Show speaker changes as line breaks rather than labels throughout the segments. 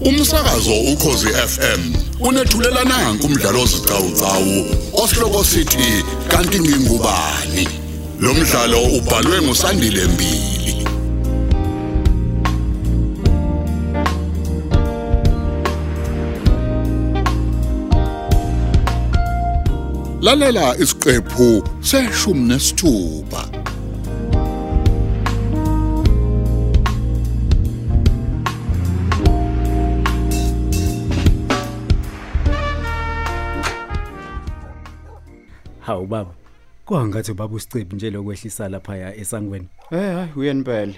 umsakazo ukhosi FM unethulela nanku umdlalo ozicawucawu osihloko sithi kanti ngingubani lo mdlalo ubhalwe ngusandile mbili lalela isiqephu seshumi nesithupha
Hawu baba. Kwangathi baba usicebi nje lokwehlisa lapha ya esangweni.
Eh hayi uyenibele.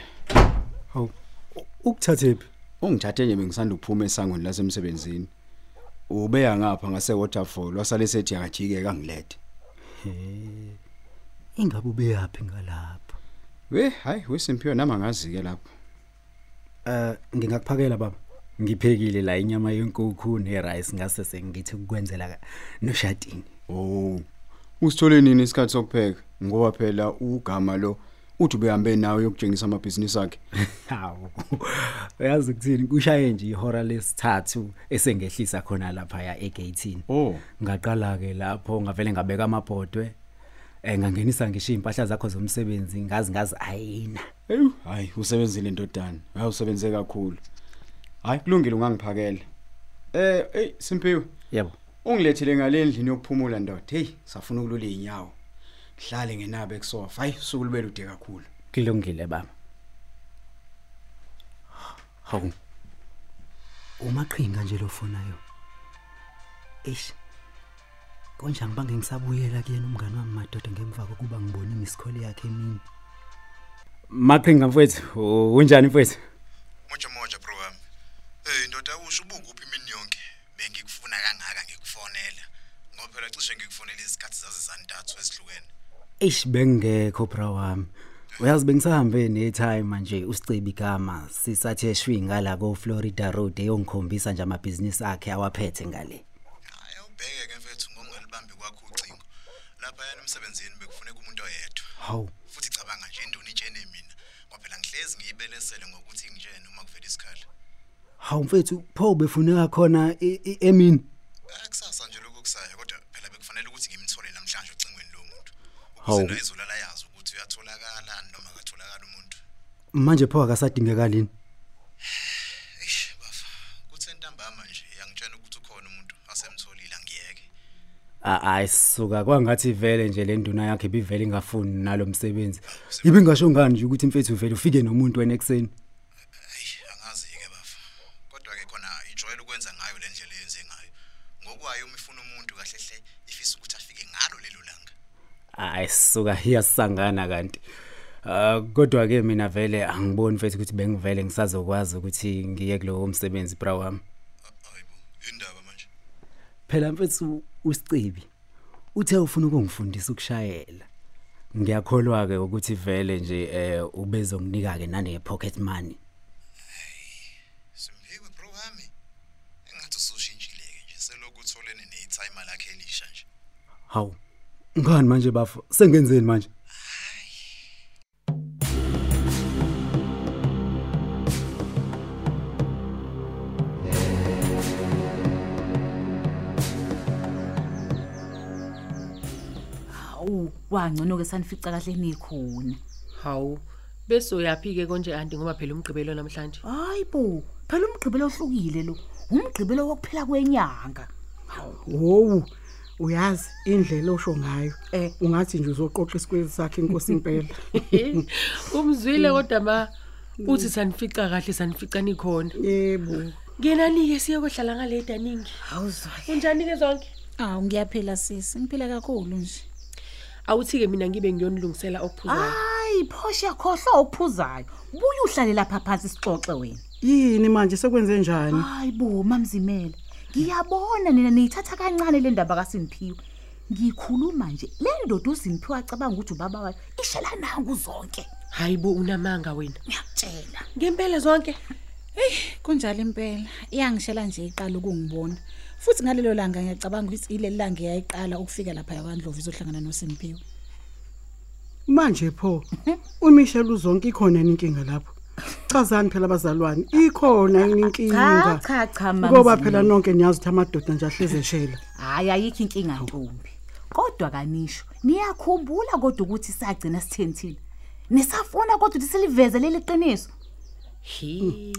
Hawu. u- Ukuthathephi?
Ungithathe nje bengisanda ukuphuma esangweni lasemsebenzini. Ubeya ngapha ngase waterfall wasale sethi akajike kangilethe.
Ingabe ubeyapi ngalapha?
We Eh, hayi wesimpiwe nama ngazi ke lapho.
Eh ngingakuphakela baba. Ngiphekile la inyama yenkukhu nerice ngase sengithi ukwenzela ka- noshadini.
Oh. Usithole nini isikhathi sokupheka? Ngoba phela ugama lo uthi ubehambe nawe yokutshengisa amabhizinisi akhe.
Hawu. Uyazi ukuthini kushaye nje ihora lesithathu esengehlisa khona lapha ya egateini.
Oh.
ngaqala ke lapho ngavele ngabeka amabhodwe eh ngangenisa ngisho impahla zakho zomsebenzi ngazi ngazi ayina
Eyu, hayi usebenzile ndodana. Hayi usebenze kakhulu. Hayi kulungile ungangiphakela. Eh, hey Simpiwe.
yebo
Ungilethele ngale ndlini yokuphumula ndoda. Hey, safuna ukulula izinyawo. Ngihlale ngenabe kusofa. Hayi, sukulube lude kakhulu.
kulungile baba hawu umaqhinga nje lofonayo eish konje angibange ngisabuyela kuyena umngane wami madoda ngemva kokuba ngibone imiskoli yakhe emini maqhinga mfethu u- unjani mfethu
Moja moja bro wami. Eh ndoda usho ubunguphi imini yonke? Bengikufuna kangaka ngikufonela. Ngoba phela cishe ngikufonela izikhathi zaze zantathu ezihlukene.
Eish bengekho bra wami. Uyazi bengisahambe netime manje usicebi igama sisathe shwi ngala ko Florida Road eyongikhombisa nje amabhizinisi akhe awaphethe ngale.
Hayi ubheke ke mfethu ngokungalibambi kwakho ucingo. Lapha yana emsebenzini bekufuneka umuntu oyedwa.
Hawu
Futhi cabanga nje indoni itshene mina. Ngoba phela ngihlezi ngiyibelesele ngokuthi ngitshene uma kuvela isikhala.
hawu mfethu pho befuneka khona i- i- emini.
Akusasa nje lokho kusaya kodwa phela bekufanele ukuthi ngimthole namhlanje ucingweni lo muntu.
Hawu.
Ukuze naye izolala yazi ukuthi uyatholakala noma akatholakala umuntu.
Manje pho akasadingeka lini?
Eish bafa, kuthe ntambama nje yangitshela ukuthi ukhona umuntu asemtholile angiyeke.
Hayi suka kwangathi vele nje le nduna yakhe ibivele ingafuni nalomsebenzi. Ibingasho ngani nje ukuthi mfethu vele ufike nomuntu wena ekseni.
Eish angazi ke bafa. Kodwa ke khona ijwayele ukwenza ngayo le ndlela eyenze ngayo. Ngokwayo uma ifuna umuntu kahle hle ifisa ukuthi afike ngalo lelo langa.
Hayi suka hiyasangana kanti. Ah kodwa ke mina vele angiboni mfethu ukuthi bengivele ngisazokwazi ukuthi ngiye kulowo msebenzi bra wami.
Hayibo, indaba manje.
Phela mfethu usicebi uthe ufuna ukungifundisa ukushayela. Ngiyakholwa ke ukuthi vele nje eh ubezonginika ke nane pocket money.
Simphikwe bro wami. Engathi usushintshile ke nje selokhu utholene ne-time lakhe elisha nje.
Hawu. Ngani manje bafo? Sengenzeni manje?
Awu, wangcono ke sanifica kahle nikhona.
Hawu. Bese uyaphike konje anti ngoba phela umgqibelo namhlanje.
Hayibo, phela umgqibelo ohlukile lo. Umgqibelo wokuphela kwenyanga.
Wowu. Uyazi indlela osho ngayo.
Eh.
Ungathi nje uzoqoqa isikwezi sakhe inkosi impela.
Eh, Umzwile kodwa ma uthi sanifica kahle sanifica nikhona.
Yebo.
Ngenani ke siye kwehlala ngale daningi.
Awuzwaye.
Unjani ke zonke?
Awu ngiyaphila sisi, ngiphila kakhulu nje.
Awuthi ke mina ngibe ngiyonilungisela
Ah.
ophuzayo.
Hayi, phosha yakhohlwa uphuzayo. Buya uhlale lapha phansi sixoxe wena.
Yini manje sekwenze njani?
Hayibo, mamzimela. Ngiyabona nina niyithatha kancane le ndaba kaSimphiwe. Ngikhuluma nje le ndoda uzimphiwe acabanga ukuthi ubaba wayo ishela nangu zonke.
Hayibo unamanga wena.
Ngiyakutshela.
Ngempela zonke.
Kunjalo impela, iyangishela nje iqala ukungibona. Futhi ngalelo langa ngiyacabanga ukuthi ile langa iyayiqala ukufika lapha yakwaNdlovu izohlangana noSimpiwe.
Manje pho uMichelle uzonke ikhona inkinga lapho. chazani phela abazalwane ikhona yini
Cha
inkinga
cha cha mama.
ngoba phela nonke niyazi ukuthi amadoda nje ahleze eshela
Hayi ayikho inkinga ntombi. Kodwa kanisho niyakhumbula kodwa ukuthi sagcina sithenthile. Nisafuna kodwa ukuthi siliveze leli qiniso.
hi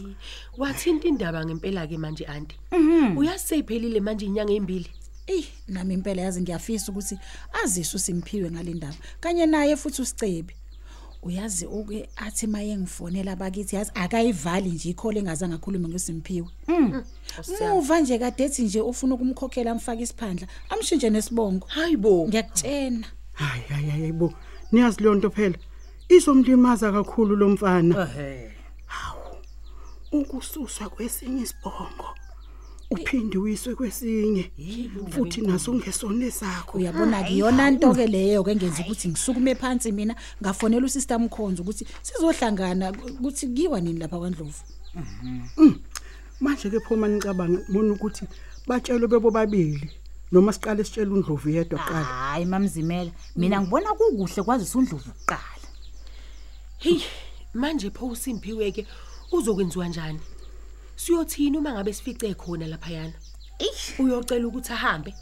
wathinta indaba ngempela ke manje anti uyaseyiphelile manje inyanga embili
eyi nami impela yazi ngiyafisa ukuthi aziswe usimphiwe ngale ndaba kanye naye futhi usicebi uyazi uke athi maye ngifonela abakithi yazi akayivali nje ikhole engazange akhulume ngosimphiwe
Hmm.
Mm. muva nje kade ethi nje ufuna ukumkhokhela amfake isiphandla amshintshe nesibongo
hayi bo
ngiyakutshena
hayi hayi hayi bo niyazi leyo nto phela izomlimaza kakhulu lo mfana ukususwa kwesinye isibongo uphinde uyiswe kwesinye futhi naso ungesone sakho
uyabona kuyona nto ke leyo ke ngenza ukuthi ngisukume phansi mina ngafonela usister Mkhonzo ukuthi sizohlangana ukuthi kiwa nini lapha kwaNdlovu
manje ke phoma nicabanga mona ukuthi batshelwe bebobabili noma siqale sitshele uNdlovu yedwa kuqala
Hayi mamzimela mina ngibona kukuhle kwazi usundlovu uqala.
heyi manje pho usimphiwe ke uzokwenziwa njani siyothini uma ngabe sifice khona laphayana
Eish.
uyocela ukuthi ahambe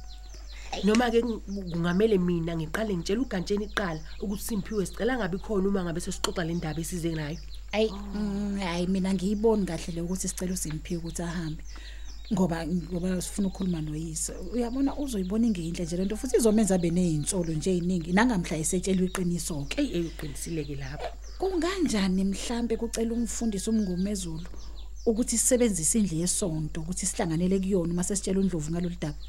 noma-ke kung- kungamele mina ngiqale ngitshela ugantsheni kuqala ukuthi simphiwe sicela ngabi khona uma ngabe sesixoxa le ndaba esize nayo
Ayi mm, hayi mina ngiyiboni kahle le ukuthi sicela uzimphi ukuthi ahambe ngoba ngoba sifuna ukukhuluma noyise uyabona uzoyibona ingeyinhle nje lento futhi izomenza abe nezinsolo nje eziningi nangamhla esetshelwe iqiniso ke
eyi eyi uqinisileke lapho
kunganjani mhlambe kucela umfundisi umngumezulu ukuthi sisebenzise indle yesonto ukuthi sihlanganele kuyona uma sesitshela uNdlovu ngalolu daba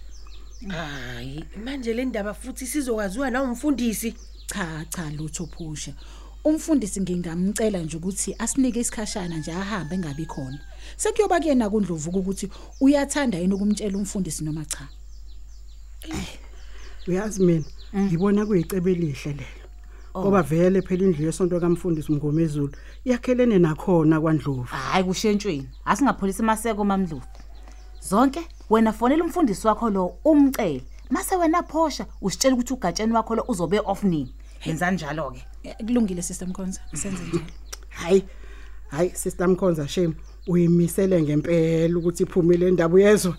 hayi manje le ndaba futhi sizokwaziwa nawumfundisi
cha cha lutho phusha umfundisi ngingamcela nje ukuthi asinike isikhashana nje ahambe engabi khona sekuyoba kuyena kuNdlovu ukuthi uyathanda yini ukumtshela umfundisi noma cha
uyazi mina ngibona kuyicebo elihle lelo ngoba vele phela indlu yesonto kaMfundisi Mngomezulu yakhelene nakhona kwaNdlovu
Hayi kushentshweni. Asingapholisa maseko mamdlovu. Zonke wena fonela umfundisi wakho lo umcele. Mase wena phosha usitshela ukuthi ugatsheni wakho lo uzobe off nini. Yenza njalo ke.
Eh, kulungile sister Mkhonza senze njalo
hayi hayi sister Mkhonza shame uyimisele ngempela ukuthi iphumile indaba uyezwa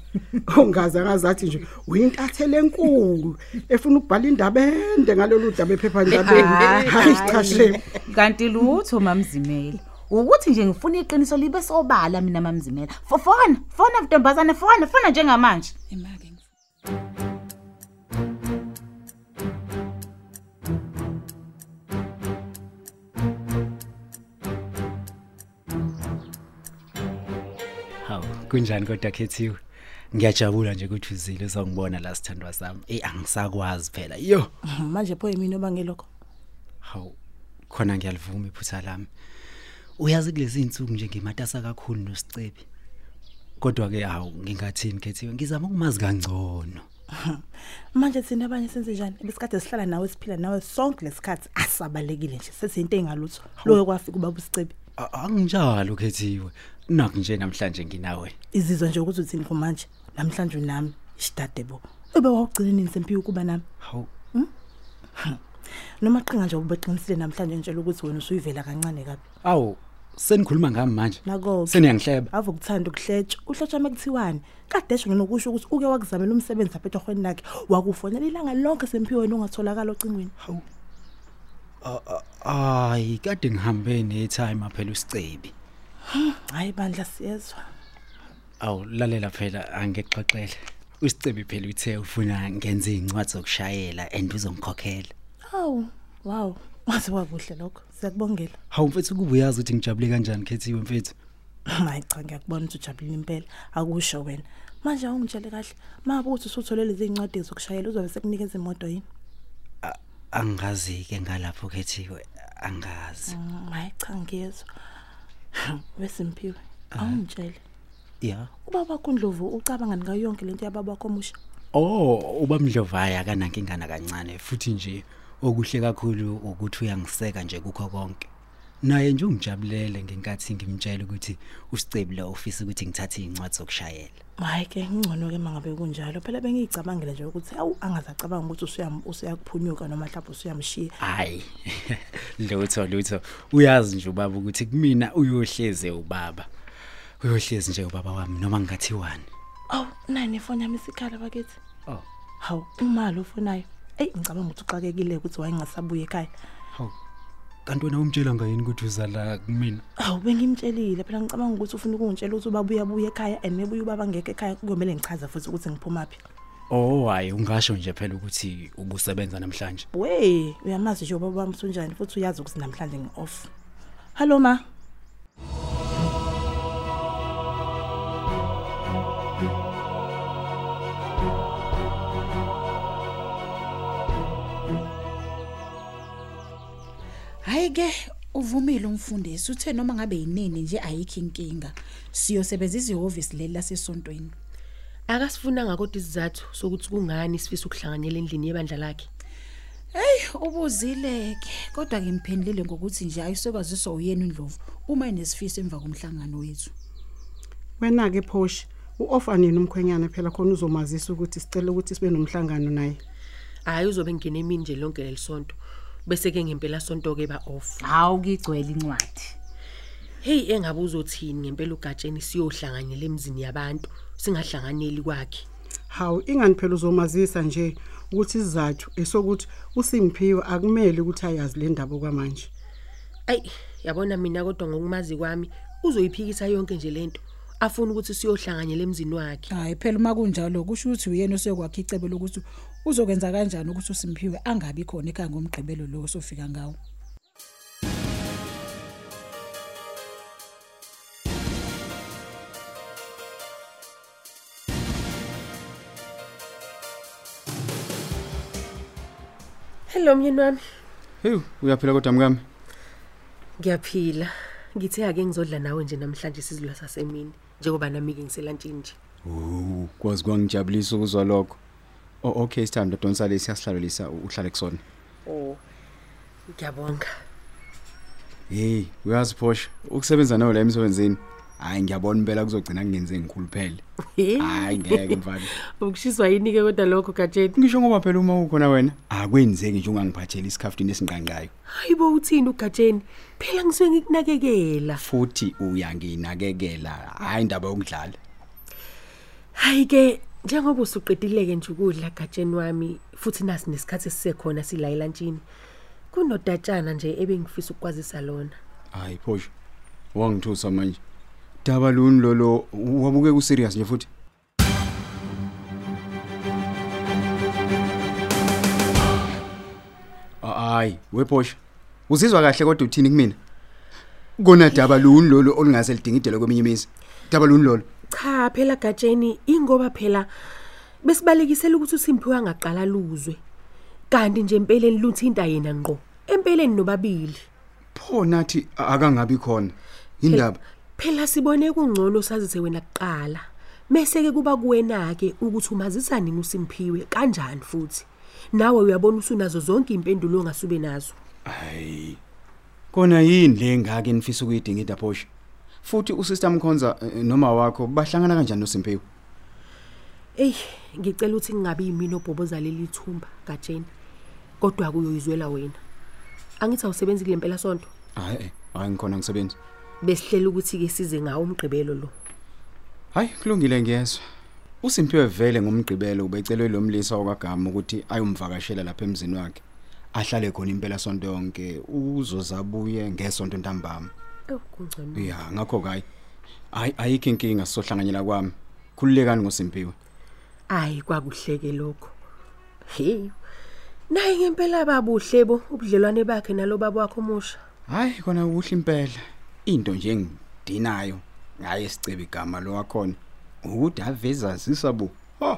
ongaze angazathi nje uyintathele enkulu efuna ukubhala indaba ende ngalolu daba ephephandabeni hayi cha shame
Kanti lutho mamzimela. Ukuthi nje ngifuna iqiniso libe sobala mina mamzimela. Fo- Fona, fona mntombazane, fona, fona njengamanje.
emake ngifu
Hawu kunjani kodwa khethiwe? Ngiyajabula nje ukuthi uzile uzongibona la sithandwa sami. Eh angisakwazi phela. Yo.
Mhm, manje pho yimini obangelokho
Hawu khona ngiyalivuma iphutha lami. Uyazi kulezi insuku nje ngimatasa kakhulu nosicebi. Kodwa ke hawu ngingathini khethiwe ngizama ukumazi kangcono.
manje thina abanye senze njani besikade sihlala nawe siphila nawe sonke lesikhathi asabalekile nje sesiyinto engalutho loke kwafika ubaba usicebi
A- Anginjalo khethiwe. Nakho nje namhlanje nginawe.
izizwa nje ukuthi uthini kumanje namhlanje unami shidadebo ube wawugcina nini sempiwe ukuba nami
Hawu
noma qhinga nje ubeqinisile namhlanje ngitshela ukuthi wena usuyivela kancane kabi
awu senikhuluma ngami manje.
Nako-ke.
Seniyangihleba.
ave ukuthanda ukuhletshwa uhlotshwa makuthiwani kadesho nginokusho ukuthi uke wakuzamela umsebenzi apha etohweni lakhe wakufonela ilanga lonke sempiwe wena ungatholakala ocingweni
Hayi kade ngihambe netime phela usicebi.
hhayi bandla siyezwa
Awu lalela phela angexoxele. Usicebi phela uthe ufuna ngenze incwadi zokushayela and uzongikhokhela.
hawu waw waze wakuhle lokho siyakubongela
Hawu mfethu kuba uyazi ukuthi ngijabule kanjani khethiwe mfethu.
hayi cha ngiyakubona ukuthi ujabulile impela akusho wena manje awungitshele kahle mabe ukuthi usuthole lezi ncwadi zokushayela uzobe sekunikeza imoto yini
Angazi ke ngalapho khethiwe angazi.
Mm, hayi cha ngiyezwa wesimpiwe awungitshele
Yeah.
ubaba kundlovu ucabanga ngayo yonke lento yababa komusha
Oh ubamdlovaya akanankinga kancane futhi nje okuhle kakhulu ukuthi uyangiseka nje kukho konke. naye nje ungijabulele ngenkathi ngimtshela ukuthi usicebi la ofisa ukuthi ngithathe iy'ncwadi zokushayela
hayi ke ngingcono-ke uma ngabe kunjalo phela bengiyicabangela nje ukuthi awu angazacabanga ukuthi usuyam- usuyakuphunyuka noma mhlawumbe usuyamshiya
hayi lutho lutho uyazi nje ubaba ukuthi kumina uyohleze ubaba uyohlezi nje ubaba wami noma ngingathiwani
awu nayi nefoni yami isikhala bakithi
oh
hawu umali ofonayo eyi ngicabanga ukuthi uxakekile ukuthi wayengasabuye ekhaya
hawu kanti wena umtshela ngayini ukuthi uzala kumina
awu bengimtshelile phela ngicabanga ukuthi ufuna ukungitshela ukuthi ubabuyabuya ekhaya and maybe ubaba ngekho ekhaya kuyomele ngichaza futhi ukuthi ngiphumaphi
oh hayi ungasho nje phela ukuthi ubusebenza namhlanje
we uyamazi nje ubaba wami sunjani futhi uyazi ukuthi namhlanje ngi-off hallo ma
Hayi ke uvumile umfundisi uthe noma ngabe yinini nje ayikho inkinga. Siyosebenzisa ihhovisi leli lasesontweni.
akasifunanga kodwa isizathu sokuthi kungani sifisa ukuhlanganyela endlini yebandla lakhe
Hey ubuzile ke kodwa ngimphendlile ngokuthi nje ayisekwaziswa uyena indlovu uma enesifiso emva komhlangano wethu.
wena ke Phoshi uoffer nini umkhwenyana phela khona uzomazisa ukuthi sicela ukuthi sibe nomhlangano naye
hhayi uzobe ngingena emini nje lonke leli sonto bese-ke ngempela sonto-ke ba-off
hawu kigcwele incwadi
heyi engabe uzothini ngempela ugatsheni siyohlanganyela emzini yabantu singahlanganyeli kwakhe
hawu ingani phela uzomazisa nje ukuthi isizathu esokuthi uSimphiwe akumele ukuthi ayazi le ndaba kwamanje
ayi yabona mina kodwa ngokumazi kwami uzoyiphikisa yonke nje lento afuna ukuthi siyohlanganyela emzini wakhe
Hayi phela uma kunjalo kusho ukuthi uyena osekwakhe icebo lokuthi uzokwenza kanjani ukuthi uSimphiwe angabi khona ekhaya ngomgqibelo lo osofika ngawo.
hello myeni wami
hewu uyaphila kodwa mkami
ngiyaphila ngithe ake ngizodla nawe nje namhlanje sizilwa sasemini njengoba nami-ke ngiselantshini nje
o kwazi kwangijabulisa ukuzwa lokho o okay isithando dadonsale siyasihlalelisa uhlale kusona
o ngiyabonga
heyi uyazi phosha ukusebenza nayo la emsebenzini hhayi ngiyabona impela kuzogcina kungenze ngikhuluphele hhayi ngeke mfana
ukushiswa yini-ke kodwa lokho gatsheni
ngisho ngoba phela uma ukhona wena akwenzeki nje ungangiphatheli isikhafutini esinqanqayo
hayi bo uthini ugatsheni phela ngisuke ngikunakekela
futhi uyanginakekela hhayi indaba yokudlala
hayi-ke njengoba usuqedileke nje ukudla gatsheni wami futhi nasi nesikhathi esisekhona silayelantshini kunodatshana nje ebengifisa ukukwazisa lona
hhayi phosha wangithusa manje daba luni lolo wabuke kuserious nje futhi hhayi wephosha uzizwa kahle kodwa uthini kumina kona daba luni lolo olungase lidinga idela kweminye imizi daba luni lolo
cha phela gatsheni ingoba phela besibalekisela ukuthi uSimphiwe angaqala luzwe kanti nje empeleni luthinta yena ngqo empeleni nobabili
pho nathi a- akangabi khona indaba
phela sibone kungcono sazise wena kuqala mese ke kuba kuwena ke ukuthi umazisa nini uSimphiwe kanjani futhi nawe uyabona usunazo zonke impendulo ongasube nazo
hayi kona yini le ngake nifisa ukuyidinga idaphosha futhi usister mkhonza eh, noma wakho bahlangana kanjani nosimpiwe
eyi ngicela ukuthi ngingabi yimini obhoboza leli thumba gatsheni kodwa kuyoyizwela wena angithi awusebenzi kule mpela sonto
hayi hayi ngikhona ngisebenzi
besihlela ukuthi-ke size ngawo umgqibelo lo
hayi kulungile ngiyezwa usimpiwe vele ngomgqibelo ubecelwe lo mlisa wakagama ukuthi ayomvakashela lapha emzini wakhe ahlale khona impela sonto yonke uzozabuye ngesonto ntambama
ewu kungcono
ya ngakho-ke hayi hayi ayikho inkinga sizohlanganyela kwami khululekani ngosimpiwe
ayi kwakuhleke lokho heyi naye ngempela babuhle bo ubudlelwane bakhe nalo baba wakho omusha
hayi khona kuhle impela into nje engidinayo ngaye sicebe igama lo wakhona ukuthi aveza sisabu ho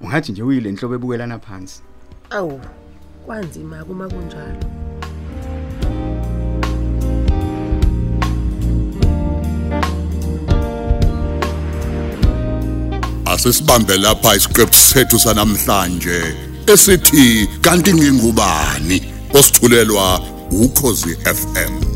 ungathi nje uyile nhlobo ebukelana phansi
awu kwanzima kuma kunjalo
Asisibambe lapha isiqephu sethu sanamhlanje esithi kanti ngingubani osithulelwa ukhozi FM